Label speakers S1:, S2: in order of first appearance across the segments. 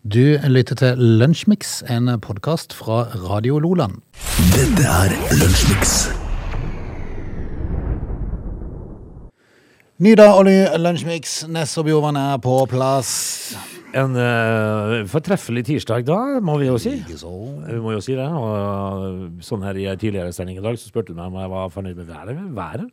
S1: Du lytter til Lunsjmix, en podkast fra Radio Loland.
S2: Dette er Lunsjmix.
S1: Ny dag og ny Lunsjmix. Ness og Bjorvann er på plass.
S3: En eh, fortreffelig tirsdag da, må vi jo si.
S1: Ikke så.
S3: Vi må jo si det. Og sånn her i en tidligere sending i dag, så spurte du meg om jeg var fornøyd med været. været.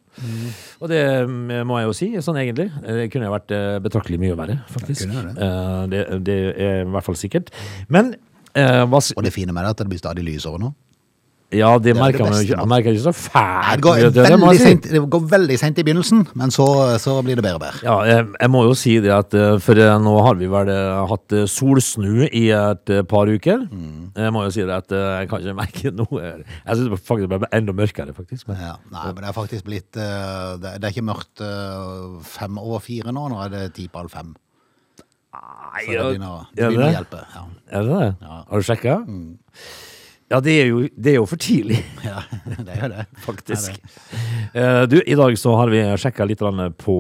S3: Og det mm, må jeg jo si, sånn egentlig. Eh, Det kunne jo vært eh, betraktelig mye verre, faktisk.
S1: Det
S3: Det,
S1: kunne
S3: det. Det, er i hvert fall sikkert. Men eh, hva, s-
S1: Og det fine med det er at det blir stadig lysere nå.
S3: Ja, det,
S1: det
S3: merker man jo
S1: beste,
S3: ikke.
S1: da.
S3: Man merker ikke så
S1: Nei,
S3: fælt.
S1: Det går
S3: mye til det, må
S1: veldig
S3: jeg si.
S1: sent, det går veldig sent i begynnelsen, men så, så blir det bedre og bedre.
S3: Ja, jeg, jeg må jo si det at eh, For eh, nå har vi vel eh, hatt eh, solsnu i et eh, par uker.
S1: Mm.
S3: Jeg må jo si det at eh, jeg kan ikke merke noe Jeg syns faktisk det ble enda mørkere, faktisk. Men,
S1: Ja, nei, men det er faktisk blitt eh, Det det er ikke mørkt eh, fem over fire nå, nå er det ti på halv fem.
S3: nei,
S1: Så det
S3: ja,
S1: begynner, det
S3: er det
S1: begynner å
S3: det?
S1: hjelpe. Ja.
S3: Er det det?
S1: Ja. Mm.
S3: Har du sjekka? Ja, det er, jo, det er jo for tidlig,
S1: ja, det gjør det.
S3: faktisk. Eh, Du, i dag så har vi sjekka litt grann på,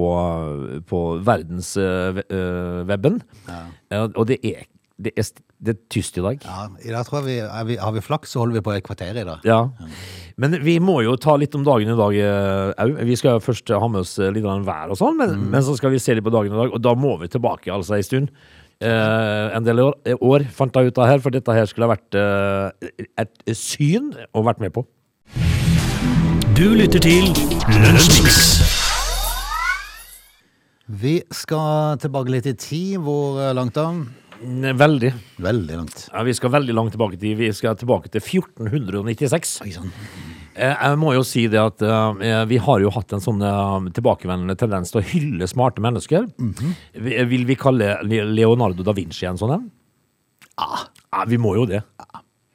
S3: på eh, verdensweben,
S1: Ja.
S3: og det er, det, er, det er tyst i dag.
S1: Ja, I dag tror jeg vi, er vi Har vi flaks, så holder vi på et kvarter i dag.
S3: Ja. Men vi må jo ta litt om dagen i dag eh, au. Vi skal først ha med oss eh, litt av vær og sånn, men, men så skal vi se litt på dagen i dag, og da må vi tilbake altså en stund. Eh, en del år, eh, år fant jeg ut av her, for dette her skulle ha vært eh, et syn å vært med på.
S2: Du lytter til Lunsjmix.
S1: Vi skal tilbake litt i tid. Hvor eh, langt da?
S3: Mm, Veldig.
S1: Veldig langt.
S3: Ja, vi skal veldig langt tilbake til Vi skal tilbake til 1496.
S1: Oi sånn. sann.
S3: Eh, Jeg må jo si det at eh, vi har jo hatt en sånn eh, tilbakevendende tendens til å hylle smarte mennesker. Vi- Vil vi kalle Le- Leonardo da Vinci en sånn en? Ja, vi må jo det.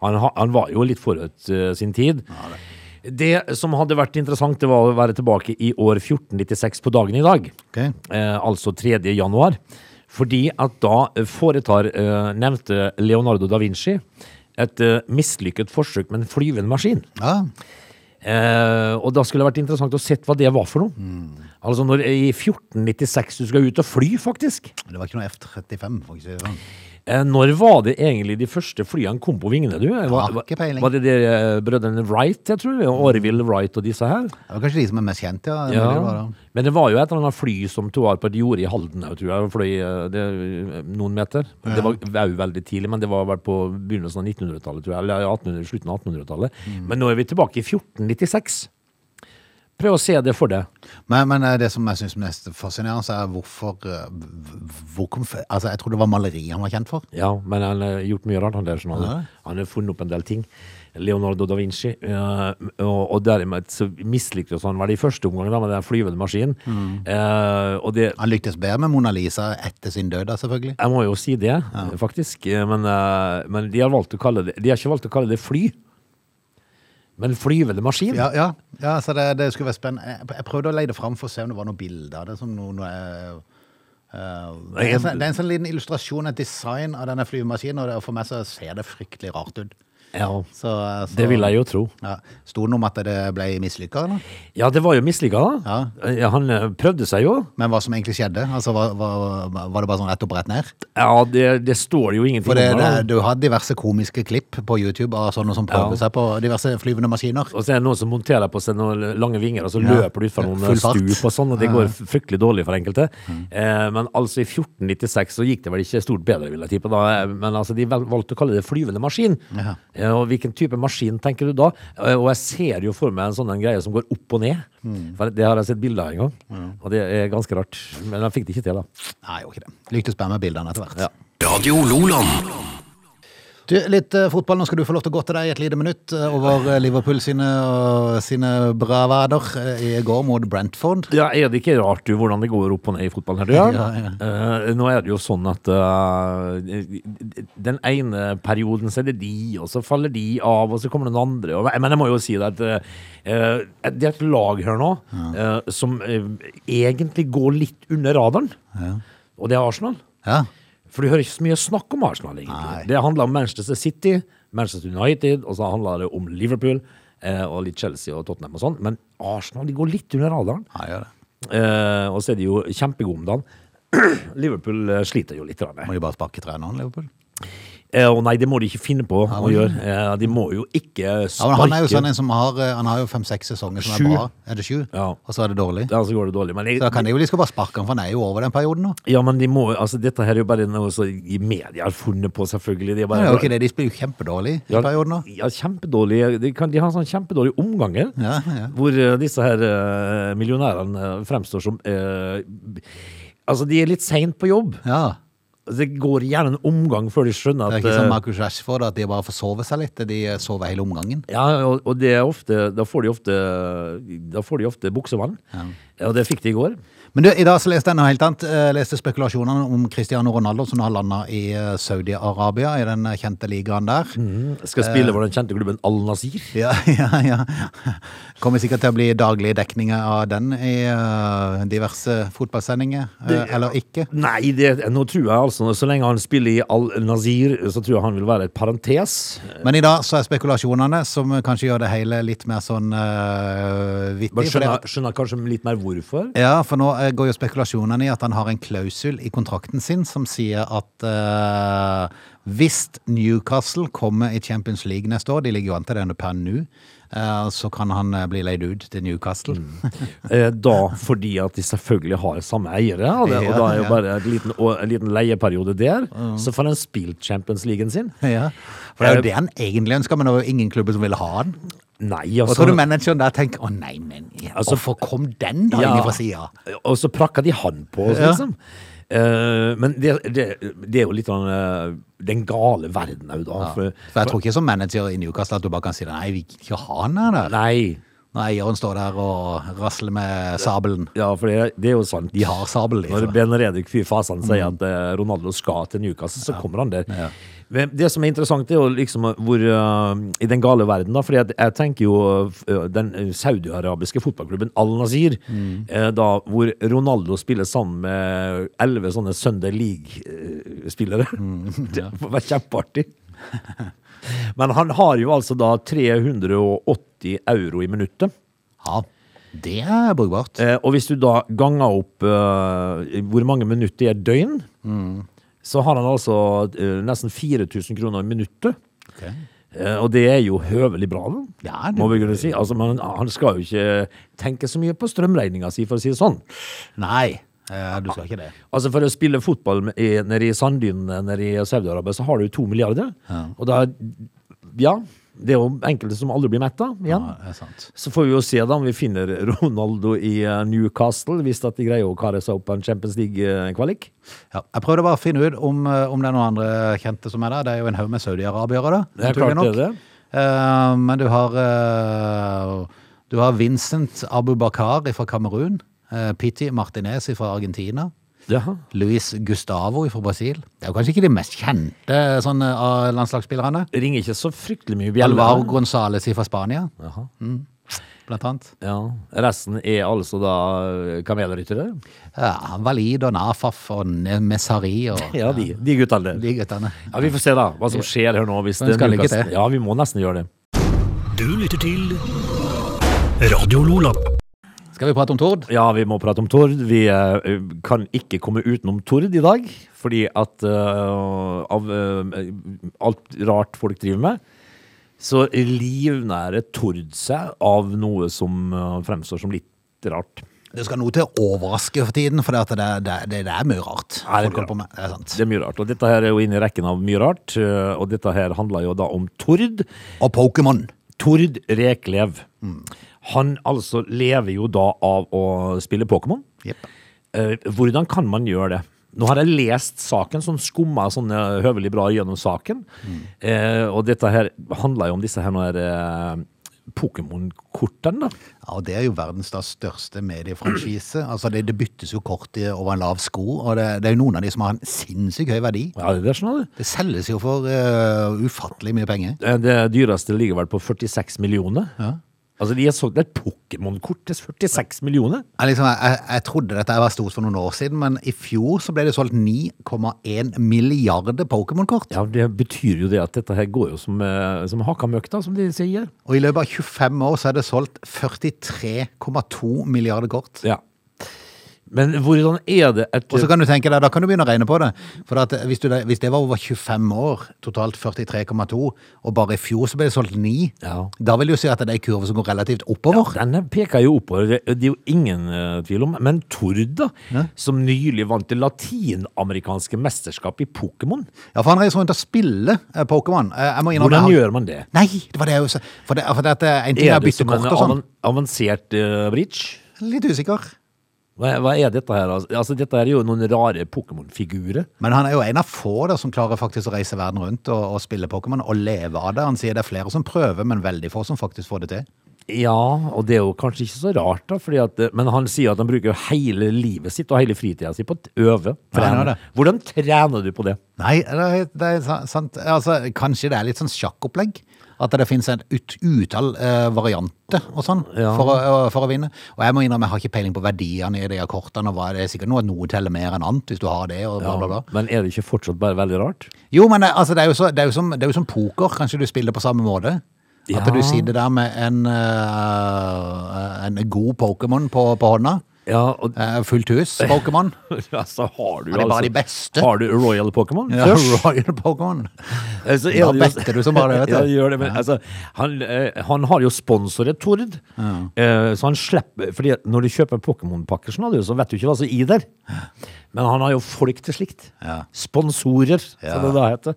S3: Han, ha- han var jo litt forut eh, sin tid. Det som hadde vært interessant, det var å være tilbake i år 1496 på dagen i dag.
S1: Ok.
S3: Eh, altså 3. januar. Fordi at da foretar eh, nevnte Leonardo da Vinci et eh, mislykket forsøk med en flyvende maskin.
S1: Ja.
S3: Eh, og da skulle det vært interessant å se hva det var for noe.
S1: Mm.
S3: Altså når i 1496 du skal ut og fly, faktisk.
S1: Det var ikke noe F-35, for ikke å si det sånn.
S3: Eh, når var det egentlig de første flyene kom på vingene, du? Var,
S1: Har ikke peiling.
S3: var det de eh, brødrene Wright, jeg tror? Orville Wright og disse her?
S1: Det var kanskje de som er mest kjent, ja. Det
S3: Ja.
S1: må det være.
S3: Men det var jo et eller annet fly som to år på et jorde i Halden, jeg tror jeg, fløy eh, det, noen meter. Det var òg veldig tidlig, men det var vel på begynnelsen av 1900-tallet, tror jeg, eller 1800, slutten av 1800-tallet.
S1: Mm.
S3: Men nå er vi tilbake i 1496. Prøv å se det for deg.
S1: Men, men eh, det som jeg syns mest fascinerende, er hvorfor eh, hvor kom, f- Altså, jeg tror det var maleri han var kjent for.
S3: Ja, men han har gjort mye rart, han der. Sånn, han,
S1: Ja.
S3: han har funnet opp en del ting. Leonardo da Vinci. eh, og, og dermed så mislyktes han vel i første omgang da, med den flyvende maskinen.
S1: Mm.
S3: Eh, og det
S1: Han lyktes bedre med Mona Lisa etter sin død, da, selvfølgelig.
S3: Jeg må jo si det, faktisk. eh, Men, eh, men de har valgt å kalle det De har ikke valgt å kalle det fly, men flyvende maskin.
S1: Ja, ja, ja så det, det skulle være spennende. Jeg, jeg prøvde å leie det fram for å se om det var noen bilder av det. Som noe, noe, eh, eh, det, er en, sånn- det er en sånn liten illustrasjon, et design av denne flyvemaskinen, og det, for meg så ser det fryktelig rart ut.
S3: Ja,
S1: Så, eh, så,
S3: det vil jeg jo tro.
S1: Ja. Sto det noe om at det ble mislykka, eller?
S3: Ja, det var jo mislykka, da. Eh, Han eh, prøvde seg jo.
S1: Men hva som egentlig skjedde? Altså, var, var, var det bare sånn rett opp og rett ned?
S3: Ja, det, det står jo ingenting
S1: For det,
S3: om
S1: det,
S3: da.
S1: du har diverse komiske klipp på YouTube av sånne som prøver
S3: Ja.
S1: seg på diverse flyvende maskiner.
S3: Og så er det noen som monterer på seg noen lange vinger, og så
S1: Ja.
S3: løper du utfor noen
S1: Full fart. Mm.
S3: stup og sånn, og det går fryktelig dårlig for enkelte. Eh, men altså i 1496 så gikk det vel ikke stort bedre, vil jeg tippe. Da. Eh, Men altså, de vel- valgte å kalle det flyvende maskin.
S1: Ja.
S3: Eh, og hvilken type maskin tenker du da? Eh, og jeg ser jo for meg en sånn en greie som går opp og ned.
S1: Mm.
S3: For det har jeg sett bilder av en gang, og det er ganske rart. Men jeg fikk det ikke til, da.
S1: Nei, jo ikke det. Lyktes bare med bildene etter hvert.
S3: Ja.
S2: Radio Loland.
S1: Du, litt eh, fotball. Nå skal du få lov til å gå til deg i et lite minutt eh, over eh, Liverpool sine, og sine bravader eh, i går mot Brentford.
S3: Ja, Er det ikke rart du, hvordan det går opp og ned i fotballen her? du?
S1: Ja, ja.
S3: Eh, nå er det jo sånn at eh, den ene perioden så er det de, og så faller de av, og så kommer den andre. Og, men jeg må jo si det at eh, det er et lag her nå eh, som eh, egentlig går litt under radaren, og det er Arsenal.
S1: Ja.
S3: For du hører ikke så mye snakk om Arsenal, egentlig.
S1: Nei.
S3: Det handler om Manchester City, Manchester United, og så handler det om Liverpool. eh, Og litt Chelsea og Tottenham og sånn. Men Arsenal de går litt under radaren.
S1: ja, gjør det.
S3: Eh, og så er de jo kjempegode om dagen. Liverpool eh, sliter jo litt. grann.
S1: Må de bare sparke treneren, Liverpool?
S3: Eh, Å nei, det må de ikke finne på å gjøre. Eh, De må jo ikke
S1: Ja, men
S3: sparke
S1: han er jo sånn en som har eh, Han har jo fem-seks sesonger som
S3: Sju.
S1: er bra. Er det sju?
S3: Ja.
S1: Og så er det dårlig?
S3: Ja, så går det dårlig. Men jeg,
S1: Så da kan de jo de skal bare sparke han, for han er jo over den perioden nå.
S3: ja, men de må, altså, dette her er jo bare noe som i media har funnet på, selvfølgelig. De er
S1: Det
S3: bare,
S1: er jo ikke det, De spiller jo kjempedårlig i perioden nå.
S3: Ja, kjempedårlig. De, kan, de har sånn kjempedårlige omganger.
S1: Ja, ja.
S3: Hvor eh, disse her eh, millionærene eh, fremstår som eh, Altså, de er litt seint på jobb. Altså,
S1: Ja.
S3: Det går gjerne en omgang før de skjønner
S1: Det er
S3: at
S1: ikke
S3: eh,
S1: som Marcus Rashford, at de bare forsover seg litt. De eh, sover hele omgangen.
S3: ja, og, og det er ofte, da får de ofte Da får de ofte buksevann. Ja. Og det fikk de i går.
S1: Men du, i dag så leste jeg noe helt annet. Jeg leste spekulasjonene om Cristiano Ronaldo som nå har landa i eh, Saudi-Arabia, i den eh, kjente ligaen der.
S3: Skal spille
S1: Eh.
S3: for den kjente klubben Al Nasir.
S1: Ja, ja, ja. Kommer sikkert til å bli daglige dekninger av den i eh, diverse fotballsendinger. eh, Eller ikke.
S3: Nei, det, nå tror jeg altså Så lenge han spiller i Al Nasir, så tror jeg han vil være et parentes.
S1: Men i dag så er spekulasjonene, som kanskje gjør det hele litt mer sånn eh, vittig.
S3: Bare
S1: for det-
S3: skjønner, skjønner kanskje litt mer hvorfor.
S1: Ja, for nå eh, går jo spekulasjonene i at han har en klausul i kontrakten sin som sier at eh, hvis Newcastle kommer i Champions League neste år, de ligger jo an til det per nå, eh, så kan han eh, bli leid ut til Newcastle.
S3: Eh, Da fordi at de selvfølgelig har samme eiere, og, det, og da er jo
S1: Ja, ja.
S3: bare en liten, og en liten leieperiode der. Så får han spilt Champions League sin.
S1: ja. For det
S3: Eh,
S1: er jo det han egentlig ønsker, men det var jo ingen klubber som ville ha han.
S3: Nei,
S1: Og
S3: altså.
S1: tror du manageren der tenker å nei, men
S3: Altså-
S1: hvorfor kom den da inn fra sida?
S3: Og så prakker de han på oss,
S1: Ja.
S3: liksom. Eh, men det, det, det er jo litt sånn eh, den gale verden òg, da.
S1: For
S3: For,
S1: jeg tror ikke som manager i Newcastle at du bare kan si nei, vi gidder ikke ha han her. der.
S3: nei.
S1: Når eieren står der og rasler med sabelen.
S3: Ja, for det, det er jo sant.
S1: De har sabel,
S3: Når
S1: liksom. Mm.
S3: Ben Redrik Fy Fasan sier at eh, Ronaldo skal til Newcastle, så kommer han der. Men det som er interessant, er jo liksom hvor eh, I den gale verden, da. For jeg, jeg tenker jo eh, den saudiarabiske fotballklubben Al Nazir,
S1: Mm.
S3: eh, da hvor Ronaldo spiller sammen med elleve sånne Sunday League-spillere.
S1: Mm,
S3: det får være kjempeartig. Men han har jo altså da 380 euro i minuttet.
S1: Ja, det er brukbart.
S3: Eh, og hvis du da ganger opp eh, hvor mange minutter i et døgn, så har han altså eh, nesten 4000 kroner i minuttet.
S1: Ok.
S3: Eh, og det er jo høvelig bra, da.
S1: Ja, det-
S3: må vi kunne si. Altså, men han skal jo ikke tenke så mye på strømregninga si, for å si det sånn.
S1: Nei, eh, du skal ikke det.
S3: Altså For å spille fotball med- i, nede i sanddynene nede i Saudi-Arabia, så har du jo to milliarder. Og da Ja. Det er jo enkelte som aldri blir metta igjen.
S1: Ja, det er sant.
S3: Så får vi jo se da om vi finner Ronaldo i eh, Newcastle, hvis at de greier å kare seg opp på en Champions League-kvalik.
S1: Ja, jeg prøvde bare å finne ut om, eh, om det er noen andre kjente som er der. Det er jo en haug med saudi-arabiere, da.
S3: Det er
S1: naturlig
S3: klart det er
S1: nok. Eh, men du har, eh, du har Vincent Abubakar fra Kamerun. eh, Pitti Martinez fra Argentina.
S3: Jaha.
S1: Luis Gustavo fra Brasil. Det er jo kanskje ikke de mest kjente eh, sånne, av landslagsspillerne.
S3: Det ringer ikke så fryktelig mye bjeller.
S1: Alvaro Gonzales fra Spania,
S3: Jaha.
S1: blant annet.
S3: Ja. Resten er altså da eh, kamelryttere?
S1: Ja, Valid og Nafaf og Ne- Messari og
S3: Ja, de, de guttene der.
S1: de guttene.
S3: Ja, vi får se da hva som skjer her nå. Hvis
S1: Men skal lykke
S3: Newcastle-
S1: til.
S3: Ja, vi må nesten gjøre det.
S2: Du lytter til Radio Lola.
S1: Skal vi prate om Tord?
S3: Ja, vi må prate om Tord. Vi eh, kan ikke komme utenom Tord i dag, fordi at eh, av eh, alt rart folk driver med, så livnærer Tord seg av noe som eh, fremstår som litt rart.
S1: Det skal noe til å overraske for tiden, for det, at det, det, det, det er mye rart.
S3: Ja, det er
S1: folk holder
S3: bra.
S1: på med. Det er sant.
S3: Det er mye rart, og dette her er jo inne i rekken av mye rart, eh, og dette her handler jo da om Tord.
S1: Og Pokémon.
S3: Tord Reklev. Han altså lever jo da av å spille Pokémon.
S1: Jepp.
S3: Eh, hvordan kan man gjøre det? Nå har jeg lest saken, sånn skumma sånn eh, høvelig bra gjennom saken. Eh, og dette her handler jo om disse her nå er, eh, Pokémon-kortene, da.
S1: Ja, og det er jo verdens da største mediefranchise. Altså, det, det byttes jo kort i- over en lav sko, og det, det er jo noen av de som har en sinnssykt høy verdi.
S3: Ja, det er sånn, det.
S1: Det selges jo for eh, ufattelig mye penger.
S3: Eh, Det dyreste ligger vel på 46 millioner. Altså, de har solgt et Pokémon-kort til 46 millioner.
S1: Jeg, liksom, jeg, jeg trodde dette var stort for noen år siden, men i fjor så ble det solgt 9,1 milliarder Pokémon-kort.
S3: Ja, Det betyr jo det at dette her går jo som, eh, som hakka møkk, da, som de sier.
S1: Og i løpet av 25 år så er det solgt 43,2 milliarder kort.
S3: Ja. Men hvordan er det et
S1: Og så kan du tenke deg, Da kan du begynne å regne på det. For at hvis, du, hvis det var over 25 år, totalt 43,2, og bare i fjor så ble det solgt 9,
S3: Ja.
S1: da vil det jo si at det er en kurve som går relativt oppover.
S3: Den peker jo oppover, det det er jo ingen eh, tvil om. Men Tord, da, som nylig vant det latinamerikanske mesterskapet i Pokémon,
S1: Ja, for han reiser rundt og spiller eh, Pokémon. Eh, Jeg må innrømme
S3: hvordan
S1: han-
S3: gjør man det?
S1: Nei, det var det jeg også For, det, for det at eh, en ting
S3: Er
S1: er å
S3: det
S1: bytte
S3: som en
S1: kort og sånn.
S3: avan- avansert eh, bridge?
S1: Litt usikker.
S3: Hva, hva er dette her? Altså? altså, dette er jo noen rare Pokémon-figurer.
S1: Men han er jo en av få da, som klarer faktisk å reise verden rundt og, og spille Pokémon og leve av det. Han sier det er flere som prøver, men veldig få som faktisk får det til.
S3: Ja, og det er jo kanskje ikke så rart, da, fordi at, eh, men han sier at han bruker jo hele livet sitt og hele fritida si på å t- øve.
S1: han gjør
S3: Trene.
S1: det.
S3: Hvordan trener du på det?
S1: Nei, det er, det er sa- sant. Altså, kanskje det er litt sånn sjakkopplegg. At det finnes et ut, utall eh, varianter og sånn
S3: Ja.
S1: for, å, for å vinne. Og jeg må innrømme, jeg har ikke peiling på verdiene i de her kortene. Og hva er det sikkert noe, at noe teller mer enn annet, hvis du har det, og bla, bla, bla.
S3: Men er det ikke fortsatt bare veldig rart?
S1: Jo, men eh, altså, det, er jo så, det, er jo som, det er jo som poker. Kanskje du spiller på samme måte? At
S3: Ja.
S1: du sitter der med en, eh, en god Pokémon på, på hånda.
S3: Ja, og
S1: Eh, fullt hus Pokémon.
S3: altså, har du
S1: Ja, det er bare
S3: altså-
S1: de beste.
S3: Har du Royal Pokémon?
S1: Ja,
S3: Først?
S1: Royal Pokémon.
S3: Eh, så er
S1: Da
S3: det jo-
S1: better du som bare det, vet du.
S3: Ja, det gjør det, men altså, han, eh, han har jo sponsoret Tord, eh, så han slipper Fordi at når du kjøper Pokémon-pakker, sånn, da, du, så vet du ikke hva som er i der. Men han har jo folk til slikt.
S1: Ja.
S3: Sponsorer,
S1: Ja.
S3: som det da heter.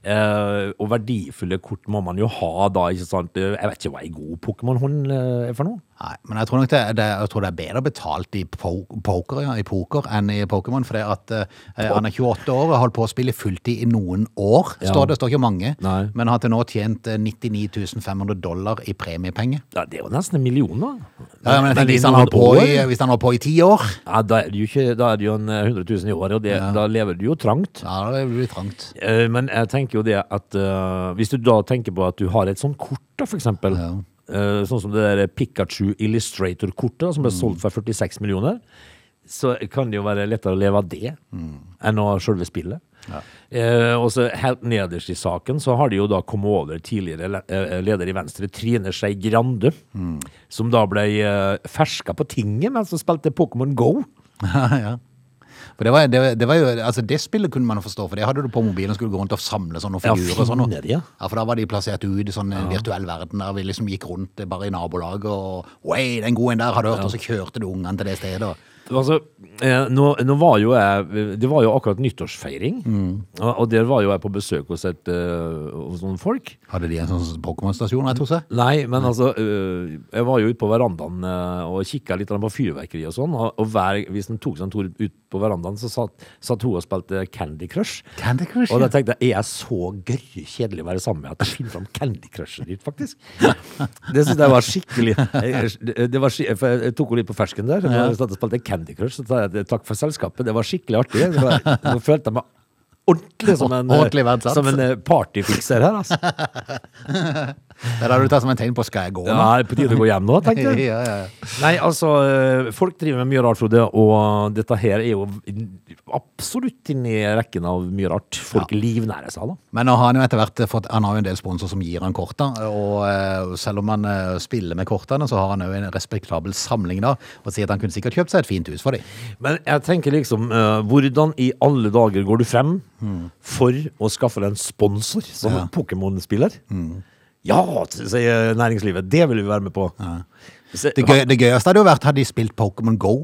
S3: Eh, og verdifulle kort må man jo ha da, ikke sant? Eh, Jeg vet ikke hva ei god Pokémon-hånd eh, er for noe.
S1: Nei, men jeg tror nok det, det, jeg tror det er bedre betalt i, po poker, ja, i poker enn i Pokémon. For det at eh, han er 28 år og har holdt på å spille fulltid i noen år.
S3: Ja.
S1: Står det står ikke mange.
S3: Nei.
S1: Men har til nå tjent eh, 99 500 dollar i premiepenger.
S3: Ja, det er jo nesten en million, da.
S1: Ja, men jeg tenker,
S3: i
S1: hvis, han har
S3: noen
S1: på
S3: år-
S1: i, hvis han har på i ti år,
S3: ja, da, er det jo ikke, da er det jo en eh, 100 000 i året, og det, da lever du jo trangt.
S1: ja, da blir det trangt.
S3: Eh, Men jeg tenker jo det at eh, Hvis du da tenker på at du har et sånt kort da, for eksempel eh, Sånn som det der Pikachu Illustrator-kortet da, Som ble solgt for 46 millioner Så kan det jo være lettere å leve av det Enn å selve spillet Eh, og så helt nederst i saken så har de jo da kommet over tidligere le- eh, leder i Venstre, Trine Skei Grande, som da ble eh, ferska på tinget mens hun spilte Pokémon Go.
S1: ja. For det var, det, var- det var jo, altså det spillet kunne man jo forstå, for det hadde du på mobilen og skulle gå rundt og samle sånne
S3: Ja,
S1: figurer. og sånn, og-
S3: finner de, ja.
S1: ja, for da var de plassert ut i sånn eh, virtuell verden der vi liksom gikk rundt eh, bare i nabolaget og Oi, den gode en der har du hørt, og så kjørte du ungene til det stedet. og-
S3: Altså, eh, nå, nå var jo jeg Det var jo akkurat nyttårsfeiring. Og, og der var jo jeg på besøk hos, et, eh, hos noen folk.
S1: Hadde de en sånn Pokémon-stasjon rett hos seg?
S3: Nei, men altså eh, Jeg var jo ute på verandaen eh, og kikka litt på fyrverkeri og sånn. Og, og hver, hvis en tok seg en tur ut på verandaen, så satt, satt hun og spilte Candy Crush.
S1: Candy Crush,
S3: Og
S1: ja.
S3: da tenkte jeg er jeg så gørre kjedelig å være sammen med at jeg finner fram Candy Crushet ditt, faktisk. Det syns jeg var skikkelig jeg- det var, skik- for Jeg tok henne litt på fersken der. Når jeg satt og spilte Candy Crush, så sa jeg eh, takk for selskapet. Det var skikkelig artig. Det var, nå følte jeg meg ordentlig som en,
S1: Ordentlig verdsatt.
S3: som en eh, partyfikser her, altså.
S1: Det er da du tar som en tegn på 'skal jeg gå'?
S3: Ja,
S1: nå?»
S3: er det på tide å gå hjem nå,
S1: ja,
S3: tenkte jeg.
S1: ja, ja.
S3: Nei, altså, eh, folk driver med mye rart, Frode, og dette her er jo absolutt inni rekken av mye rart. Folk livnærer seg, da.
S1: Men nå har han jo etter hvert fått Han har jo en del sponsorer som gir han korta, og eh, selv om han eh, spiller med kortene, så har han jo en respektabel samling da, og sier at han kunne sikkert kjøpt seg et fint hus for dem.
S3: Men jeg tenker liksom, eh, hvordan i alle dager går du frem for å skaffe deg en sponsor som en Pokémon-spiller?
S1: Mm.
S3: Ja, sier næringslivet, det vil vi være med på. Se,
S1: Det, gøy, det gøyeste hadde jo vært hadde de spilt Pokémon Go.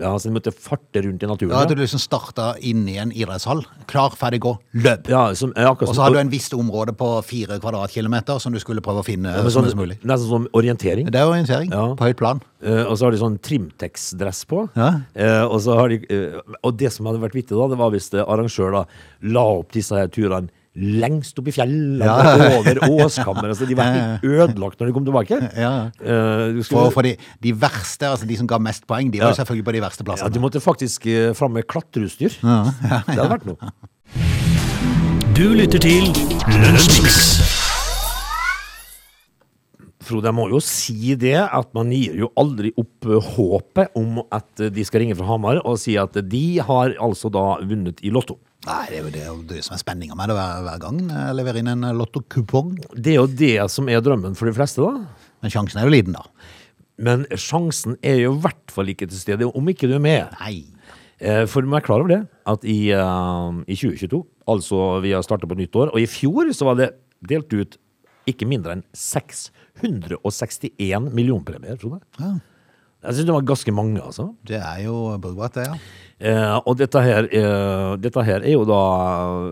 S3: Ja, så de måtte farte rundt i naturen.
S1: Da
S3: Ja,
S1: hadde du liksom starta inne i en idrettshall. Klar, ferdig, gå. Løp!
S3: ja, som, ja, akkurat
S1: Og så
S3: som-
S1: hadde du en visst område på fire kvadratkilometer som du skulle prøve å finne
S3: Ja, men
S1: eh, så
S3: sånn-
S1: mye som mulig.
S3: Nesten som orientering.
S1: Det er orientering.
S3: Ja.
S1: På høyt plan.
S3: Eh, og så har de sånn Trimtex-dress på.
S1: Ja.
S3: Eh, og, så har de, eh, og det som hadde vært vittig, da, det var hvis eh, arrangør da, la opp disse her turene lengst opp i fjellene, over åskammer. Altså, de var helt ødelagt når de kom tilbake.
S1: Ja.
S3: Eh, du,
S1: For,
S3: skulle,
S1: for de, de verste, altså de som ga mest poeng, de var jo
S3: Ja.
S1: selvfølgelig på de verste
S3: ja,
S1: plassene.
S3: Altså, du måtte faktisk eh, fram med klatreutstyr. Det hadde vært noe.
S2: Du lytter til Lunsjmix.
S3: Frode, jeg må jo si det, at man gir jo aldri opp eh, håpet om at eh, de skal ringe fra Hamar og si at eh, de har altså da vunnet i Lotto.
S1: Nei, det er jo det, er jo det som er spenninga med det hver, hver gang. eh, Jeg leverer inn en lottokupong.
S3: Det er jo det som er drømmen for de fleste, da.
S1: Men sjansen er jo liten, da.
S3: Men sjansen er jo i hvert fall ikke til stede, om ikke du er med.
S1: Nei.
S3: Eh, For du må være klar over det, at i, eh, i 2022, altså vi har startet på nytt år, og i fjor så var det delt ut ikke mindre enn 661 millionpremier, Frode.
S1: Ja,
S3: Jeg synes det var ganske mange, altså.
S1: det er jo brukbart, det, ja.
S3: Eh, og dette her, eh, dette her er jo da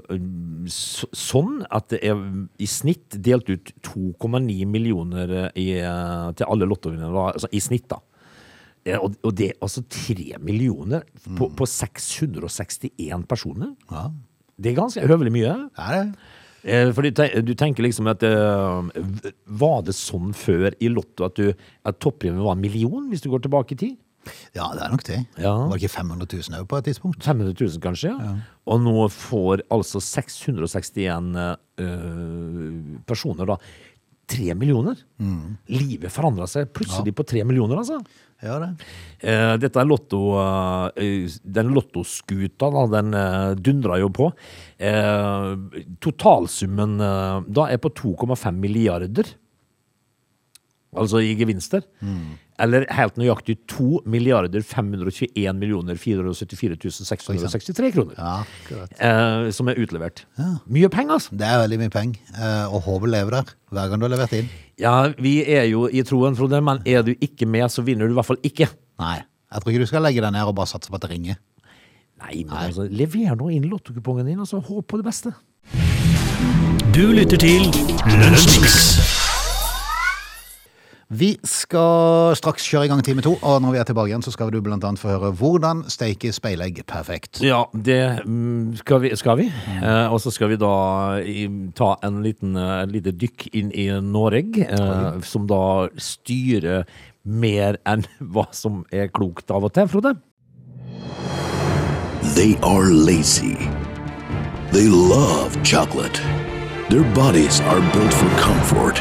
S3: eh, s- sånn at det er i snitt delt ut 2,9 millioner i, eh, til alle lottovinnere, da, altså i snitt da. Eh, og, og det er altså 3 millioner på, på 661 personer.
S1: ja.
S3: Det er ganske høvelig mye.
S1: Det er det.
S3: Eh, Fordi te- du tenker liksom at eh, v- Var det sånn før i Lotto at, du- at toppremien var en million, hvis du går tilbake i tid?
S1: Ja, det er nok det.
S3: Ja.
S1: Var det ikke 500 000 òg på et tidspunkt?
S3: 500 000 kanskje, ja. og nå får altså 661 eh, personer da 3 millioner. Livet forandrer seg plutselig på 3 millioner, altså.
S1: Ja, det.
S3: Eh, dette er lotto, eh, den lottoskuta, da, den eh, dundrer jo på. Eh, totalsummen eh, da er på 2,5 milliarder, altså i gevinster. Eller helt nøyaktig 2 milliarder 521 millioner 474 663 kroner.
S1: Ja, akkurat.
S3: Eh, som er utlevert. Mye penger, altså!
S1: Det er veldig mye penger. Eh, Og håpet lever der hver gang du har levert inn.
S3: Ja, vi er jo i troen, Frode, men er du ikke med, så vinner du i hvert fall ikke.
S1: Nei. Jeg tror ikke du skal legge deg ned og bare satse på at det ringer.
S3: Nei, men altså, lever nå inn lottokupongen din, og så håp på det beste.
S2: Du lytter til Lunsjmix.
S1: Vi skal straks kjøre i gang time to, og når vi er tilbake igjen, så skal du blant annet få høre hvordan steike speilegg perfekt.
S3: Ja, det mm, skal vi. Skal vi. Eh, og så skal vi da i, ta en liten, eh, et lite dykk inn i Norge, eh, som da styrer mer enn hva som er klokt av og til, Frode.
S4: They are lazy. They love chocolate. Their bodies are built for comfort.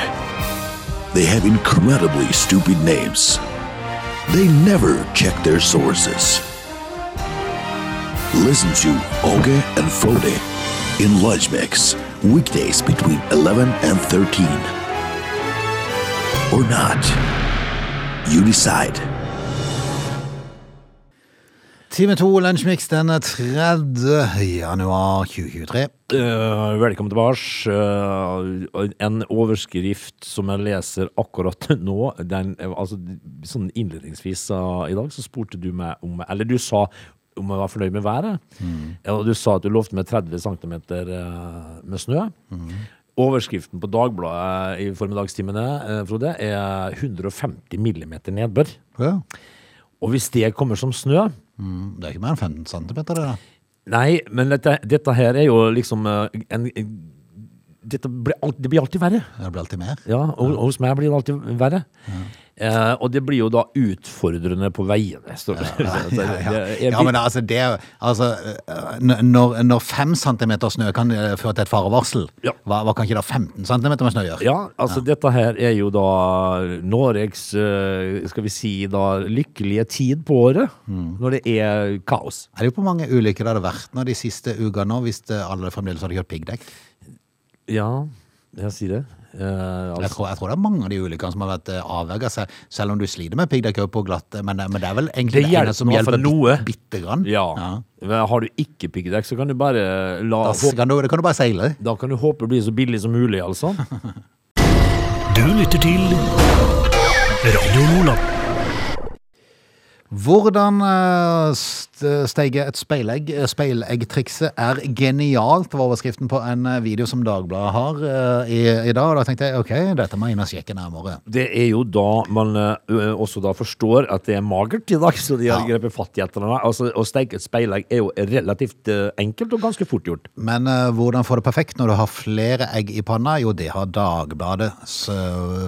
S4: They have incredibly stupid names. They never check their sources. Listen to Oge and Frode in Lunch Mix, weekdays between 11 and 13. Or not. You decide.
S1: Time to Lunsjmix den 30. januar 2023.
S3: Eh, velkommen tilbake. Eh, en overskrift som jeg leser akkurat nå den, eh, altså, sånn Innledningsvis sa- i dag så spurte du meg om Eller du sa om jeg var fornøyd med været. Eh, Og du sa at du lovte meg 30 cm med snø. Overskriften på Dagbladet i formiddagstimene eh, Frode, er 150 mm nedbør.
S1: Ja.
S3: Og hvis det kommer som snø,
S1: Mm, Det er ikke mer enn 15 cm, det da.
S3: Nei, men dette, dette her er jo liksom eh, en, en- dette blir, alt- Det blir alltid verre.
S1: Det blir alltid mer.
S3: Ja, og, og hos meg blir det alltid verre. Eh, og det blir jo da utfordrende på veiene. står det. Så det-
S1: Ja,
S3: det-
S1: ja.
S3: jeg-
S1: ja, men altså, det er jo- altså, øh, n- når, når 5 cm snø kan øh, føre til et farevarsel,
S3: Ja.
S1: hva, hva kan ikke da 15 cm med snø gjøre?
S3: ja, altså dette her er jo da Noregs, eh, skal vi si da, lykkelige tid på året.
S1: Mm.
S3: Når det er kaos.
S1: Er det jo på mange ulykker det hadde vært nå de siste ukene nå, hvis det alle fremdeles hadde kjørt piggdekk?
S3: Ja, jeg sier det. Eh, altså-
S1: Jeg tror, jeg tror det er mange av de ulykkene som har vært eh, avverget seg, selv om du sliter med piggdekk også på glatt, eh, men, men det er vel egentlig
S3: Det
S1: det,
S3: hjelper
S1: ene som
S3: i hvert fall
S1: hjelper
S3: noe.
S1: bit- bitte grann.
S3: ja. Men Har du ikke piggdekk, så kan du bare la
S1: Da
S3: håpe
S1: kan du, det kan du bare seile.
S3: Da kan du håpe det blir så billig som mulig, altså.
S2: Du lytter til Radio Nordland.
S1: Hvordan eh, st- steige et speilegg? Eh, Speileggtrikset er genialt, var overskriften på en eh, video som Dagbladet har eh, i, i dag. Og da tenkte jeg ok, dette må jeg inn og sjekke nærmere.
S3: Det er jo da man ø, også da forstår at det er magert i dag, så de har grepet fatt i et eller annet. Altså, å steike et speilegg er jo relativt ø, enkelt og ganske fort gjort.
S1: Men eh, hvordan få det perfekt når du har flere egg i panna? Jo, det har Dagbladet s-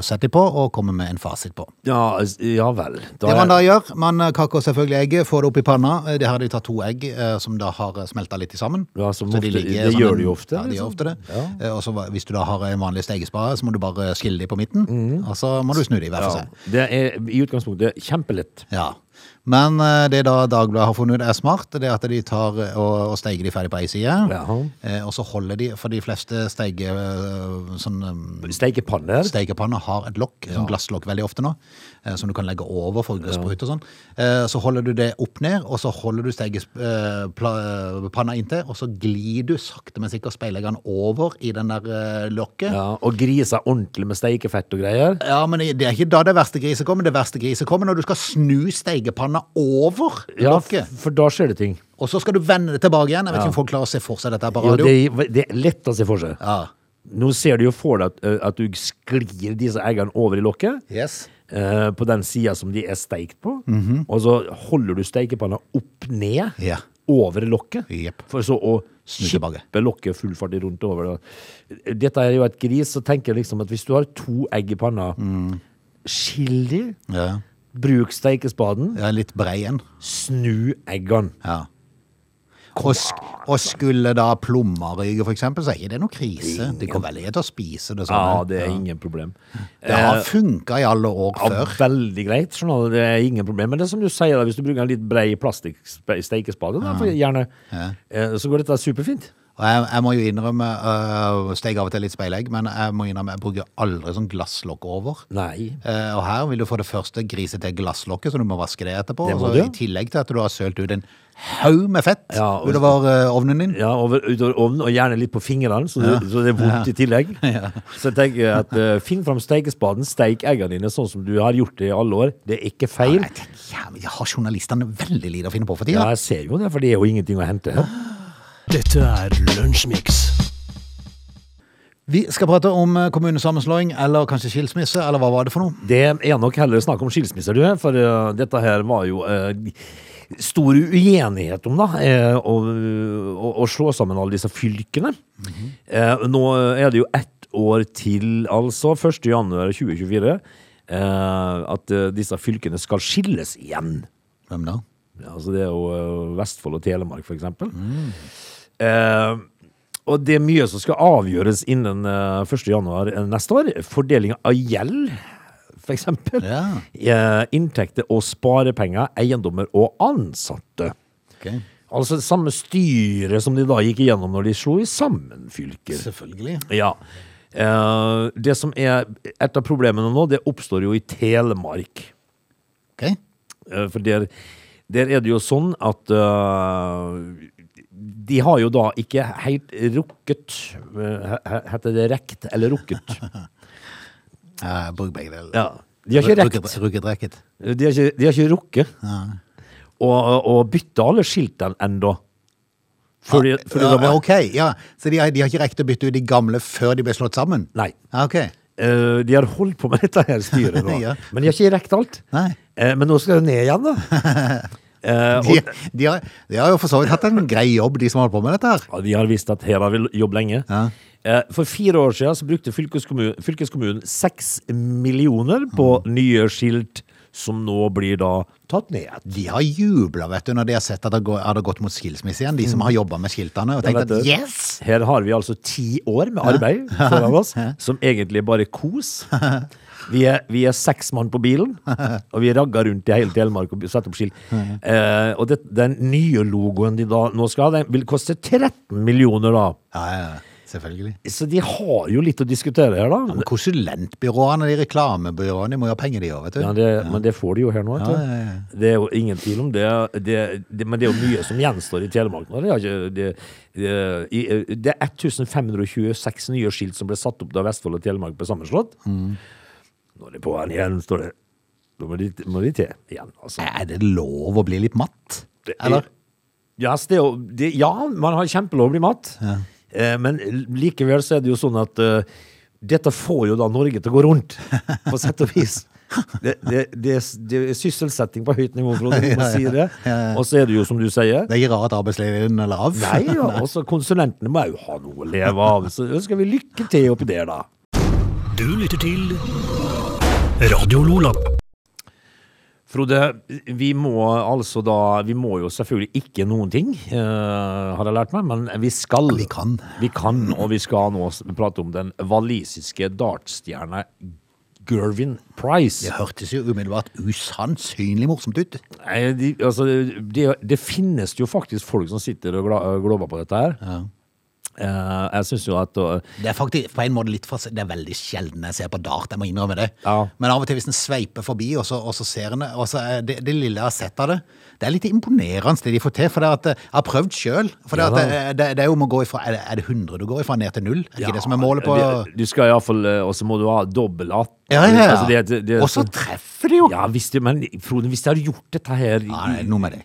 S1: sett de på og kommer med en fasit på.
S3: Ja, s- ja vel. Da
S1: Det man
S3: er-
S1: da gjør, man eh, kakker selvfølgelig egget, får det opp i panna. Eh, Det har de tatt to egg eh, som da har smelta litt i sammen.
S3: Ja, som
S1: Så
S3: ofte- det gjør de jo ofte,
S1: Ja, de gjør
S3: liksom.
S1: ofte det. Eh, Og så hva- hvis du da har en vanlig stegespade, så må du bare skille de på midten, og så må du snu de hver for
S3: Mhm. ja,
S1: seg.
S3: det er i utgangspunktet kjempelett.
S1: Ja. Men eh, det da Dagbladet har funnet ut er smart, det er at de tar eh, og, og steiger de ferdig på ei side.
S3: Jaha.
S1: Eh, og så holder de, for de fleste steige, eh, sånn, eh,
S3: Steikepanner.
S1: steikepanner har et lokk, sånn glasslokk veldig ofte nå, eh, som du kan legge over for gressprut og sånn. Eh, så holder du det opp ned, og så holder du eh, steigepanna inntil, og så glir du sakte, men sikkert speileggeren over i den der eh, lokket.
S3: Ja, og griser ordentlig med steikefett og greier.
S1: Ja, men det er ikke da det verste griset kommer. Det verste griset kommer når du skal snu steigepanna over
S3: Ja,
S1: lokket.
S3: f- for da skjer det ting.
S1: Og så skal du vende det tilbake igjen. Jeg vet ikke om folk klarer å se for seg dette her på
S3: Jo,
S1: radio.
S3: det, det er lett å se for seg.
S1: Ja.
S3: Nå ser du jo for deg at, ø, at du sklir disse eggene over i lokket.
S1: Yes.
S3: eh, på den sida som de er steikt på. Og så holder du steikepanna opp ned
S1: Mhm. Ja.
S3: over lokket.
S1: Jepp.
S3: For så å
S1: Snu tilbake.
S3: kippe lokket full fart rundt over. det. Dette er jo et gris, så tenker jeg liksom at hvis du har to egg i panna,
S1: Mm.
S3: skill de.
S1: Ja.
S3: Bruk steikespaden.
S1: ja, litt brei en.
S3: Snu eggene.
S1: Ja. Og, sk og skulle da plommer ryke, for eksempel, så er ikke det noe krise. Det går vel ikke til å spise det sånn.
S3: Ja, det er ingen problem.
S1: Det har funka i alle år før.
S3: Ja, veldig greit. Skjønner du, det er ingen problem. Men det er som du sier, da, hvis du bruker en litt brei plastikksteikespade, da, for gjerne, eh, så går dette superfint.
S1: Og jeg, jeg må jo innrømme øh, Steg av og til litt speilegg, men jeg må innrømme jeg bruker aldri sånn glasslokk over.
S3: Nei.
S1: Eh, Og her vil du for det første grise til glasslokket, så du må vaske det etterpå.
S3: Det må
S1: og
S3: du.
S1: så I tillegg til at du har sølt ut en haug med fett
S3: Ja, og-
S1: utover eh, ovnen din.
S3: Ja, over, utover ovnen, og gjerne litt på fingrene, så, det- så det er vondt i tillegg. Så jeg tenker at eh, finn fram steikespaden, steik eggene dine sånn som du har gjort det i alle år. Det er ikke feil.
S1: Jeg tenker, ja, men jeg har journalistene veldig lite å finne på for
S3: Ja,
S1: tida.
S3: jeg ser jo det, for det er jo ingenting å hente her.
S2: Dette er Lunsjmix.
S1: Vi skal prate om eh, kommunesammenslåing, eller kanskje skilsmisse, eller hva var det for noe?
S3: Det er nok heller snakk om skilsmisser, du, for eh, dette her var jo eh, stor uenighet om, da, eh, å, å, å slå sammen alle disse fylkene. Eh, nå er det jo ett år til, altså, 1. januar 2024, eh, at eh, disse fylkene skal skilles igjen.
S1: Hvem da?
S3: Ja, Altså det er jo eh, Vestfold og Telemark, for eksempel. Eh, og det er mye som skal avgjøres innen eh, 1. januar neste år. Fordeling av gjeld, for eksempel.
S1: Ja.
S3: Eh, inntekter og sparepenger, eiendommer og ansatte.
S1: Ok,
S3: Altså det samme styre som de da gikk igjennom når de slo i sammen fylker.
S1: Selvfølgelig.
S3: Ja. Eh, det som er et av problemene nå, det oppstår jo i Telemark.
S1: Ok.
S3: Eh, For der, der er det jo sånn at eh, De har jo da ikke helt rukket eh, he- he- Heter det rekt eller rukket?
S1: Eh, bruk begge deler.
S3: Ja. De har ikke
S1: Rukket-
S3: rekt.
S1: Rukket rekket.
S3: De har ikke, de har ikke rukket å å bytte alle skiltene ennå. Fordi, fordi
S1: Ja,
S3: det var,
S1: ok, ja. Så de har, de har ikke rekt å bytte ut de gamle før de ble slått sammen?
S3: Nei.
S1: Ja, ok.
S3: Eh, de har holdt på med dette her styret nå.
S1: Ja.
S3: Men de har ikke rekt alt.
S1: Nei.
S3: Eh, men nå skal det ned igjen, da. Eh,
S1: De, de, har, de har jo for så vidt hatt en grei jobb, de som holder på med dette her.
S3: Ja, Vi har visst at her har vi jobb lenge.
S1: Ja.
S3: Eh, For fire år siden så brukte fylkeskommunen, fylkeskommunen seks millioner
S1: Mm.
S3: på nye skilt, som nå blir da tatt ned. igjen.
S1: De har jubla når de har sett at det går- har det gått mot skilsmisse igjen, de som har jobba med skiltene. Og
S3: Mm. Ja,
S1: tenkt at
S3: vet du.
S1: yes!
S3: Her har vi altså ti år med arbeid foran oss, som egentlig bare er kos. Vi er, vi er seks mann på bilen, og vi ragger rundt i hele Telemark og setter opp skilt. Eh, og det, den nye logoen de da nå skal ha, den vil koste 13 millioner da.
S1: Ja, ja, selvfølgelig.
S3: Så de har jo litt å diskutere her, da.
S1: Men konsulentbyråene, de reklamebyråene, de må jo ha penger, de òg, vet du.
S3: Ja, det, Men det får de jo her nå. vet du. Det er jo ingen tvil om det, det, det. Men det er jo mye som gjenstår i Telemark nå. Det er, ikke, det, det, i, eh, det er 1526 nye skilt som ble satt opp da Vestfold og Telemark ble sammenslått. Nå er det på en igjen, står det. Nå må de, må de til igjen, altså.
S1: Er det lov å bli litt matt?
S3: Det er-
S1: Eller?
S3: Ja, så det, er jo- det, ja, man har kjempelov å bli matt. Eh, men likevel så er det jo sånn at eh, dette får jo da Norge til å gå rundt, på sett og vis. Det, det, det, er s- det er sysselsetting på høyt nivå, Frode, du må si det. Og så er det jo som du sier.
S1: Det er ikke rart arbeidsledigheten eller av.
S3: Nei, ja, også konsulentene må jo ha noe å leve av. Så ønsker vi lykke til oppi der, da.
S2: Du lytter til Radio Lola.
S3: Frode, vi må altså da Vi må jo selvfølgelig ikke noen ting, eh, har jeg lært meg, men vi skal.
S1: Vi kan.
S3: Vi kan, og vi skal nå s- prate om den walisiske dartstjerna Gervin Price.
S1: Det hørtes jo umiddelbart usannsynlig morsomt ut.
S3: Nei, de, altså, det, det finnes jo faktisk folk som sitter og gla- glåper på dette her. Eh, jeg syns jo at eh,
S1: Det er faktisk på en måte litt fas- Det er veldig sjelden jeg ser på dart, jeg må innrømme det.
S3: Ja.
S1: Men av og til hvis en sveiper forbi, og så, og så ser en det, og så er det, det lille jeg har sett av det, det er litt imponerende det de får til. For det at eh, jeg har prøvd sjøl. For det,
S3: Ja
S1: at,
S3: da.
S1: eh, det, det er jo om å gå ifra Er det, er det 100 du går ifra ned til null? Er ikke det som er målet på
S3: det- Du skal iallfall eh, Og så må du ha dobbel att.
S1: Ja, ja, ja.
S3: Altså, det- det- det-
S1: og så treffer de jo!
S3: Ja, hvis det, men Frode, hvis jeg har gjort dette her i-
S1: Ja, det er noe med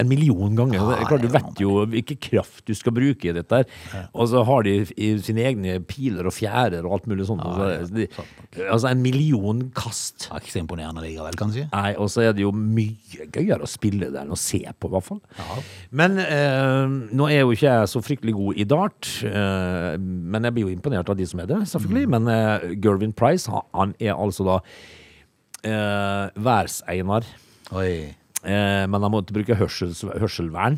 S3: en million ganger
S1: Ja,
S3: det er klart,
S1: det
S3: Du
S1: er
S3: vet jo hvilken kraft du skal bruke i dette. her Og så har de i sine egne piler og fjærer og alt mulig sånt. altså, de, altså en million kast.
S1: Det er Ah, ikke så imponerende likevel, kanskje.
S3: Nei, Og så er det jo mye gøyere å spille det enn å se på, i hvert fall. Men eh, nå er jo ikke jeg så fryktelig god i dart, eh, men jeg blir jo imponert av de som er det, selvfølgelig. Men eh, Gervin Price, han, han er altså da eh, værseinar.
S1: Oi,
S3: Eh, men han måtte bruke hørsels, hørselvern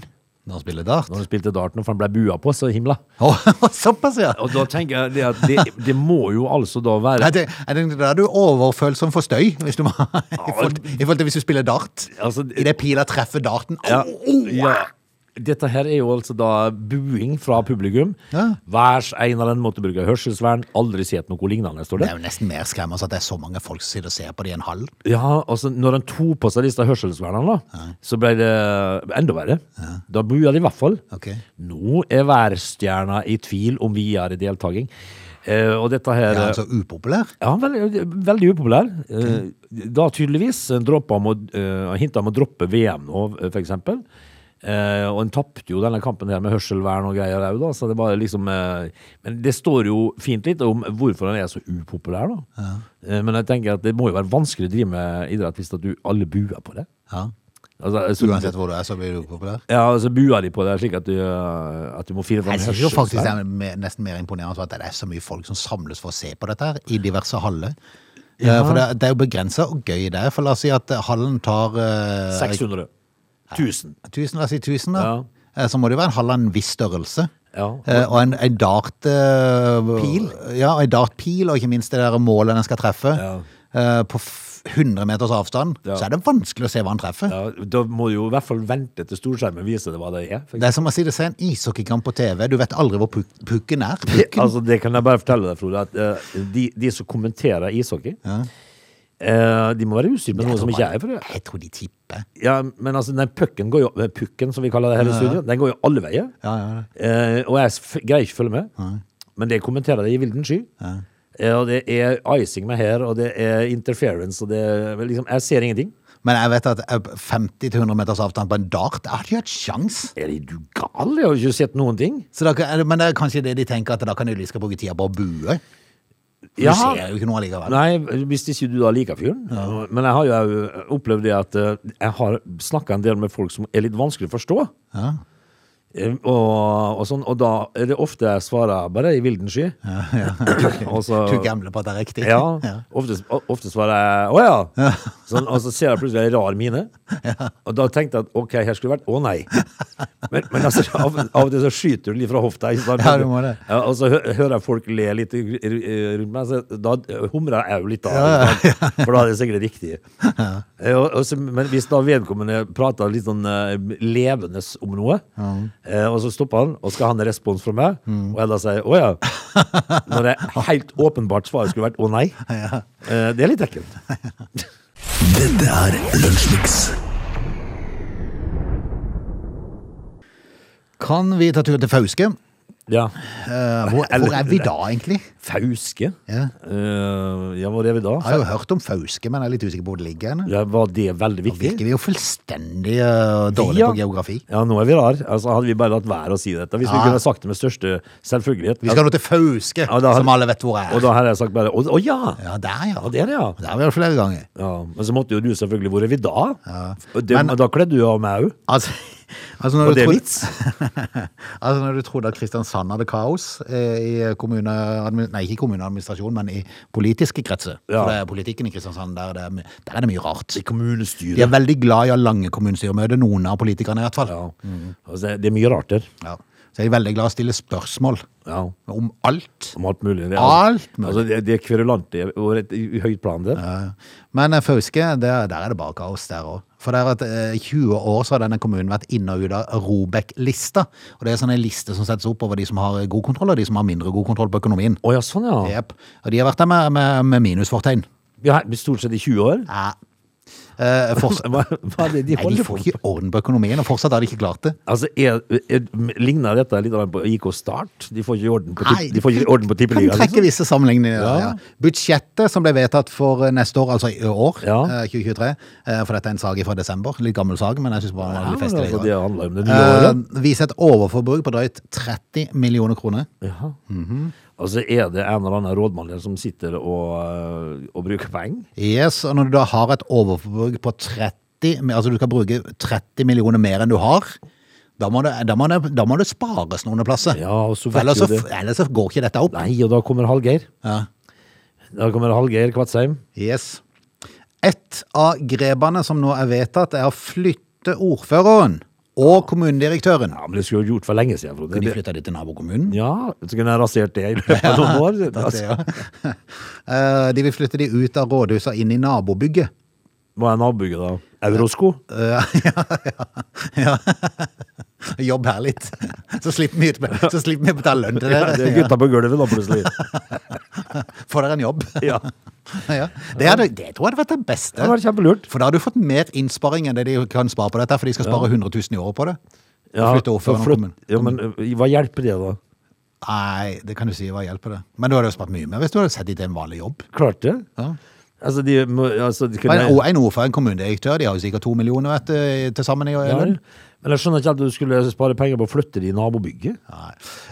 S1: når han spiller dart?
S3: når han spilte dart, nå, for han ble bua på, så himla.
S1: Å, såpass, ja!
S3: Og da tenker jeg det at det, det må jo altså da
S1: Nei,
S3: være
S1: det, er det da er du overfølsom for støy, hvis du må, i, forhold, til- i forhold til hvis du spiller dart.
S3: Altså,
S1: I det pila treffer darten.
S3: ja,
S1: Au, au,
S3: ja. Dette her er jo altså da buing fra publikum.
S1: Ja.
S3: Værseineren måtte bruke hørselsvern. Aldri sett noe lignende, står
S1: Det
S3: det.
S1: er jo nesten mer skremmende at det er så mange folk som sitter og ser på det i en hall.
S3: Ja, altså Når han tok på seg disse hørselsvernene, da, så ble det enda verre. Da bua de i hvert fall.
S1: Ok.
S3: Nå er værstjerna i tvil om videre deltaking. Eh, og dette her
S1: Er han så upopulær?
S3: Ja, veldig, veldig upopulær. Eh, Da tydeligvis droppa om å, eh, hintet om å droppe VM nå, eh, for eksempel. Eh, og en tapte jo denne kampen her med hørselvern og greier òg, da. Så det bare liksom eh, Men det står jo fint litt om hvorfor han er så upopulær, da. Eh, men jeg tenker at det må jo være vanskelig å drive med idrett hvis at du alle buer på det.
S1: Ja.
S3: Altså, altså,
S1: Uansett hvor du er, så blir du upopulær.
S3: Ja, altså buer de på det slik at du, eh, at du må finne fram
S1: Jeg synes jo faktisk det er mer, nesten mer imponerende at det er så mye folk som samles for å se på dette her, i diverse haller. Eh, For det, det er jo begrensa hvor gøy det er. For la oss si at eh, hallen tar eh,
S3: 600 000.
S1: 1000, la oss si 1000, da.
S3: Ja.
S1: Eh, Så må det jo være en hall av en viss størrelse.
S3: Ja.
S1: Eh, Og en, en dart eh,
S3: Pil?
S1: Ja, en dartpil, og ikke minst det der målet den skal treffe.
S3: Ja.
S1: Eh, På f- 100 meters avstand,
S3: Ja.
S1: så er det vanskelig å se hva han treffer.
S3: Ja, da må du jo i hvert fall vente til storskjermen viser det hva det er. for
S1: Det er som å si det ser en ishockeykamp på TV, du vet aldri hvor puk pukken er. Pukken.
S3: Altså, det kan jeg bare fortelle deg, Frode, at eh, de, de som kommenterer ishockey, eh, de må være usikre på noe som ikke er for det.
S1: Jeg tror de tipper.
S3: Ja, men altså, den pucken går jo, eh, pucken som vi kaller det her i studio, den går jo alle veier.
S1: Ja, ja,
S3: Eh, og jeg f greier ikke å følge med, men det kommenterer de i vilden sky. Eh, og det er icing med her, og det er interference, og det er liksom, jeg ser ingenting.
S1: Men jeg vet at eh, 50-100 meters avstand på en dart, jeg hadde ikke hatt sjans.
S3: Er du gal? Jeg har jo ikke sett noen ting.
S1: Så da, kan- men det er kanskje det de tenker, at da kan de like skal bruke tida på å bue. Du
S3: Ja.
S1: ser jo ikke noe allikevel.
S3: Nei, hvis ikke du da liker fyren. Men jeg har jo opplevd det at eh, jeg har snakka en del med folk som er litt vanskelig å forstå. Eh, Og, og, sånn, og da er det ofte jeg svarer bare i vilden sky. og så,
S1: Du gambler på at det er riktig.
S3: ja, ofte, ofte svarer jeg 'å ja', sånn, og så ser jeg plutselig en rar mine. Og da tenkte jeg at ok, her skulle det vært 'å nei'. Men, men altså, av, av og til så skyter du litt fra hofta. Ikke sant?
S1: Ja, du må det.
S3: Ja, og så hø hører jeg folk le litt i- i- rundt meg, så da humrer jeg jo litt da. ikke sant? For da er det sikkert riktig. Eh, Og, og så, men hvis da vedkommende prater litt sånn eh, levende om noe, eh, og så stopper han, og skal ha en respons fra meg,
S1: Mm.
S3: og jeg da sier 'å ja', når det helt åpenbart svaret skulle vært 'å nei', eh, det er litt ekkelt.
S4: Dette er Lunsjmix.
S1: Kan vi ta tur til Fauske?
S3: Ja.
S1: Eh, hvor, hvor er vi da, egentlig?
S3: Fauske?
S1: Ja.
S3: Eh, ja, hvor er vi da?
S1: Jeg har jo hørt om Fauske, men jeg er litt usikker på hvor det ligger. henne.
S3: Ja, var det veldig viktig?
S1: Virker vi jo fullstendig eh, dårlige
S3: Ja.
S1: på geografi.
S3: Ja, nå er vi rar. Altså, hadde vi bare latt være å si dette. Hvis vi
S1: Ja.
S3: kunne sagt det med største selvfølgelighet.
S1: Vi skal nå til Fauske,
S3: Ja, da har-
S1: som alle vet hvor er.
S3: Og da hadde jeg sagt bare Å, å ja!
S1: ja, der, ja.
S3: Ja, det er det, ja.
S1: Der har vi vært flere ganger.
S3: ja. Men så måtte jo du selvfølgelig Hvor er vi da? Og Det,
S1: Men-
S3: men, da kledde du av meg òg.
S1: Altså, altså når du
S3: Og det er
S1: trodde-
S3: vits.
S1: altså når du trodde at Kristiansand hadde kaos eh, i kommuneadmin- Nei, ikke kommuneadministrasjon, men i politiske kretser.
S3: Ja.
S1: For det er politikken i Kristiansand, der, det er my- der er det mye rart. De
S3: I
S1: er
S3: kommunestyret. Mm.
S1: veldig glad i å ha lange kommunestyremøter, noen av politikerne i hvert fall.
S3: Ja. Altså, det er mye rart der.
S1: Ja. så er de veldig glad i å stille spørsmål
S3: Ja.
S1: om alt.
S3: Om alt mulig. Det er,
S1: Alt mulig.
S3: Altså, det, det er kverulante over et i høyt plan, det.
S1: Ja. Men eh, Fauske, der, der er det bare kaos der òg. For det er at eh, i 20 år så har denne kommunen vært inne og ut av Robek-lista. Og det er sånn en liste som settes opp over de som har god kontroll, og de som har mindre god kontroll på økonomien.
S3: Å ja, sånn ja.
S1: Jep. Og de har vært der med, med, med minusfortegn.
S3: ja. Stort sett i 20 år.
S1: Ja. Eh, forts-
S3: Hva, hva er det de
S1: Nei, de
S3: holder på
S1: får
S3: med?
S1: ikke orden på økonomien, og fortsatt har de ikke klart det.
S3: Altså, er, er, Ligner dette litt grann på IK Start? De får ikke orden på,
S1: Nei,
S3: tipp- de får ikke orden
S1: Kan
S3: på tippeligaen.
S1: trekke
S3: Liksom.
S1: visse sammenligninger. Ja.
S3: Ja.
S1: Ja. Budsjettet som ble vedtatt for eh, neste år, altså i år,
S3: Ja.
S1: eh, 2023, eh, for dette er en sag fra desember, litt gammel sag, men jeg synes bare den var
S3: Ja,
S1: litt
S3: men
S1: festlig.
S3: altså, det handler om det nye
S1: Eh,
S3: året.
S1: viser et overforbruk på drøyt 30 millioner kroner.
S3: Ja. Altså, er det en eller annen rådmann der som sitter og, øh, og bruker penger?
S1: Yes, og når du da har et overforbruk på 30, mi- altså du skal bruke 30 millioner mer enn du har, da må det, da må det, da må det spares noen plasser.
S3: Ja, og så
S1: For
S3: vet
S1: ellers,
S3: jo
S1: så,
S3: det.
S1: altså, f- ellers så går ikke dette opp.
S3: Nei, og da kommer Hallgeir.
S1: Ja.
S3: Da kommer Hallgeir Kvatsheim.
S1: Yes. Et av grepene som nå er vedtatt, er å flytte ordføreren og kommunedirektøren.
S3: Ja, men det skulle jo gjort for lenge siden, Frode.
S1: De
S3: Det-
S1: flytta de til nabokommunen.
S3: Ja, så kunne jeg rasert det i løpet av noen år.
S1: Det,
S3: Altså,
S1: ja. Eh, De vil flytte de ut av rådhuset og inn i nabobygget.
S3: hva er nabobygget da? Eurosko?
S1: Eh, ja, ja, ja. Jobb her litt, så slipper vi, ut- så slipper vi å betale lønn til
S3: Ja, det er
S1: dere.
S3: gutta på gulvet da, plutselig.
S1: Får dere en jobb.
S3: Ja,
S1: Ja. Det, hadde, det tror jeg hadde vært det
S3: det
S1: beste.
S3: var kjempelurt.
S1: For da har du fått mer innsparing enn det de kan spare på dette, for de skal spare 100 000 i året på det.
S3: Ja,
S1: Flytte ordføreren og
S3: flytt-
S1: kommunen.
S3: Ja, men øh, hva hjelper det da?
S1: Nei, det kan du si. Hva hjelper det? Men du hadde jo spart mye mer hvis du hadde sett dem til en vanlig jobb.
S3: Klart det?
S1: Ja.
S3: Altså, de, må- altså, de kunne...
S1: Men og en ordfører, en kommunedirektør, de har jo sikkert to millioner vet, du, til sammen i
S3: Ja,
S1: lønn.
S3: Men jeg skjønner ikke at du skulle spare penger på å flytte de i nabobygget.
S1: Nei.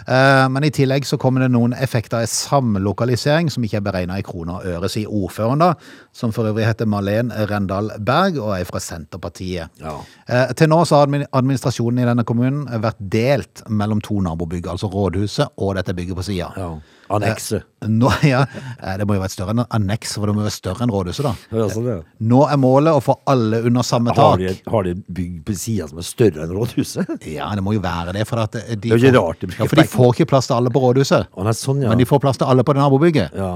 S1: Eh, Men i tillegg så kommer det noen effekter av samlokalisering som ikke er beregna i kroner og øre, sier ordføreren, da, som for øvrig heter Malen Rendal Berg og er fra Senterpartiet.
S3: Ja.
S1: Eh, Til nå så har admin- administrasjonen i denne kommunen vært delt mellom to nabobygg, altså rådhuset og dette bygget på sida.
S3: Ja. Annekse.
S1: Nå, ja, eh, det må jo være et større enn anneks, for det må jo være større enn rådhuset, da.
S3: Ja, sånn, ja.
S1: Nå er målet å få alle under samme
S3: Har
S1: tak.
S3: de, et- har de et bygg på sida som er større enn rådhuset?
S1: Ja, det må jo være det, for at eh, de,
S3: Det er jo ikke
S1: får-
S3: rart de bruker
S1: ja, for de
S3: penger.
S1: får ikke plass til alle på rådhuset.
S3: Å nei, sånn, ja.
S1: Men de får plass til alle på det nabobygget.
S3: ja.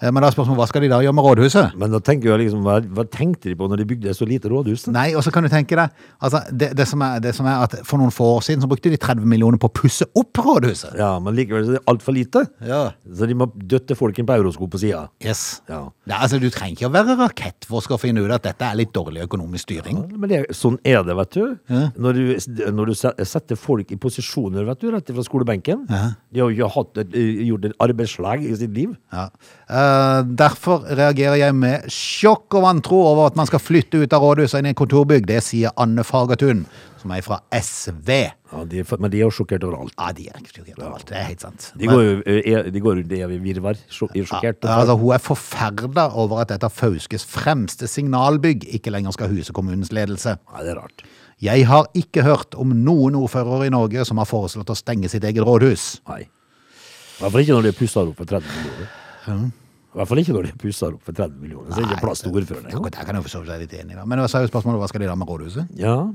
S1: Eh, Men da er spørsmålet, hva skal de da gjøre med rådhuset?
S3: Men da tenker jeg liksom, hva, hva tenkte de på når de bygde et så lite rådhus? da?
S1: Nei, og så kan du tenke deg, altså, det, det, som er, det som er at for noen få år siden så brukte de 30 millioner på å pusse opp rådhuset.
S3: Ja, Men likevel så er det altfor lite.
S1: Ja.
S3: Så de må døtte folk inn på eurosko på sida.
S1: Yes.
S3: Ja.
S1: Nei, altså, du trenger ikke å være rakettforsker for å finne ut at dette er litt dårlig økonomisk styring.
S3: Men det, sånn er det, vet du. Når du. Når du se- setter folk i posisjoner, vet du, rett fra skolebenken De har jo ikke hatt et, eh, gjort et arbeidsslag i sitt liv.
S1: Ja. Eh, derfor reagerer jeg med sjokk og vantro over at man skal flytte ut av rådhuset og inn i en kontorbygg. Det sier Anne Fagertun, som er fra SV.
S3: Ja, de, er- men de er jo sjokkert overalt.
S1: Ja, de er ikke sjokkert overalt. Det er helt sant.
S3: De går, jo, eh, de går rundt i evig virvar, sjok- i
S1: Ja,
S3: sjokkert.
S1: altså, hun er forferda over at et av Fauskes fremste signalbygg ikke lenger skal huse kommunens ledelse.
S3: Nei, det er rart.
S1: Jeg har ikke hørt om noen ordførere i Norge som har foreslått å stenge sitt eget rådhus.
S3: Nei. I hvert fall ikke når de pusser opp for 30 millioner. I hvert fall ikke når de pusser opp for 30 millioner. Så er det ikke plass til ordføreren engang.
S1: Der kan jeg for så vidt være litt enig, da. Men så er jo spørsmålet hva skal de da med rådhuset?
S3: Ja.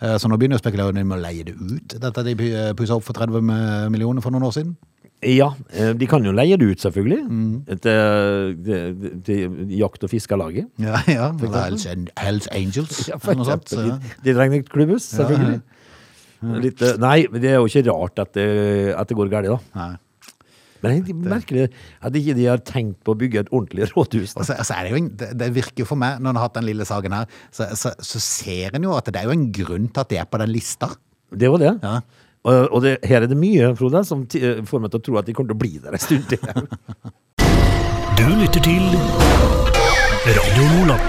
S1: Eh, Så nå begynner jeg å spekulere om de må leie det ut, dette de eh, pusset opp for 30 mi- millioner for noen år siden.
S3: ja, eh, de kan jo leie det ut, selvfølgelig. Til, til, til jakt- og fiskelaget.
S1: Ja, ja. Eller Hells, An- Hells Angels.
S3: Ja, for
S1: eller noe sånt.
S3: eksempel.
S1: Ja.
S3: De, de trenger et klubbhus, selvfølgelig. Litt, eh, nei, men det er jo ikke rart at det, at det går galt, da.
S1: Nei.
S3: Men jeg merker det, at ikke de har tenkt på å bygge et ordentlig rådhus.
S1: Og
S3: Da.
S1: så, så er det, jo en, det, det virker jo for meg, når en har hatt den lille saken her, så, så, så ser en jo at det er jo en grunn til at det er på den lista.
S3: Det var det.
S1: Ja.
S3: Og, og det, her er det mye, Frode, som ti- eh, får meg til å tro at de kommer til å bli der en stund til.
S2: Du lytter til Radio Lola.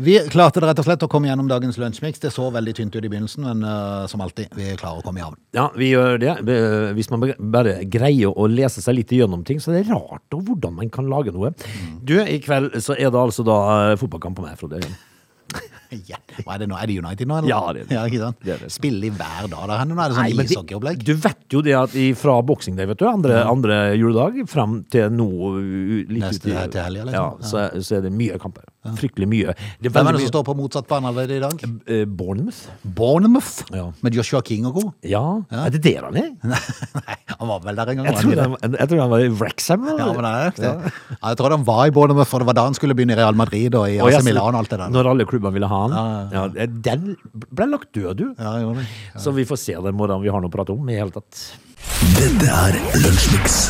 S1: Vi klarte det rett og slett å komme gjennom dagens lunsjmix. Det så veldig tynt ut i begynnelsen, men eh, som alltid, vi klarer å komme i havn.
S3: Ja, vi gjør det. Eh, Hvis man bare greier å lese seg litt gjennom ting, så er det rart da hvordan man kan lage noe. Du, i kveld så er det altså da eh, fotballkamp på meg, Frode.
S1: Ja. Hva er det nå? Er det United nå, eller?
S3: Ja, det er det.
S1: ikke sant?
S3: Det er det.
S1: Spiller de hver dag der henne nå? Er det
S3: Nei,
S1: sånn
S3: men det-
S1: ishockeyopplegg?
S3: Du vet jo det at i- fra boksing day, vet du, andre, andre juledag, frem til nå u- litt
S1: Neste
S3: uti-
S1: her til helgen, liksom.
S3: Ja, så, så er det mye kamper. Fryktelig mye. Det er
S1: Hvem er
S3: veldig
S1: det som
S3: mye.
S1: står på motsatt bane allerede i dag?
S3: Eh, Bournemouth?
S1: Bournemouth
S3: Ja.
S1: med Joshua King og co.
S3: Ja. Er det der han er?
S1: Nei, han var vel der en gang.
S3: Jeg
S1: var
S3: tror
S1: han ikke
S3: han, jeg tror han var i Wrexham. eller?
S1: Ja, men det er nok det. Ja, jeg tror han var i Bournemouth, for det var da han skulle begynne i Real Madrid og i
S3: Og jeg-
S1: AC Milan og alt det der.
S3: Når alle klubbene ville ha han. Ja, den ble lagt død, du.
S1: Ja, jeg gjorde det.
S3: Så vi får se den morgenen vi har noe å prate om i hele tatt.
S4: Dette er Lunsjmix.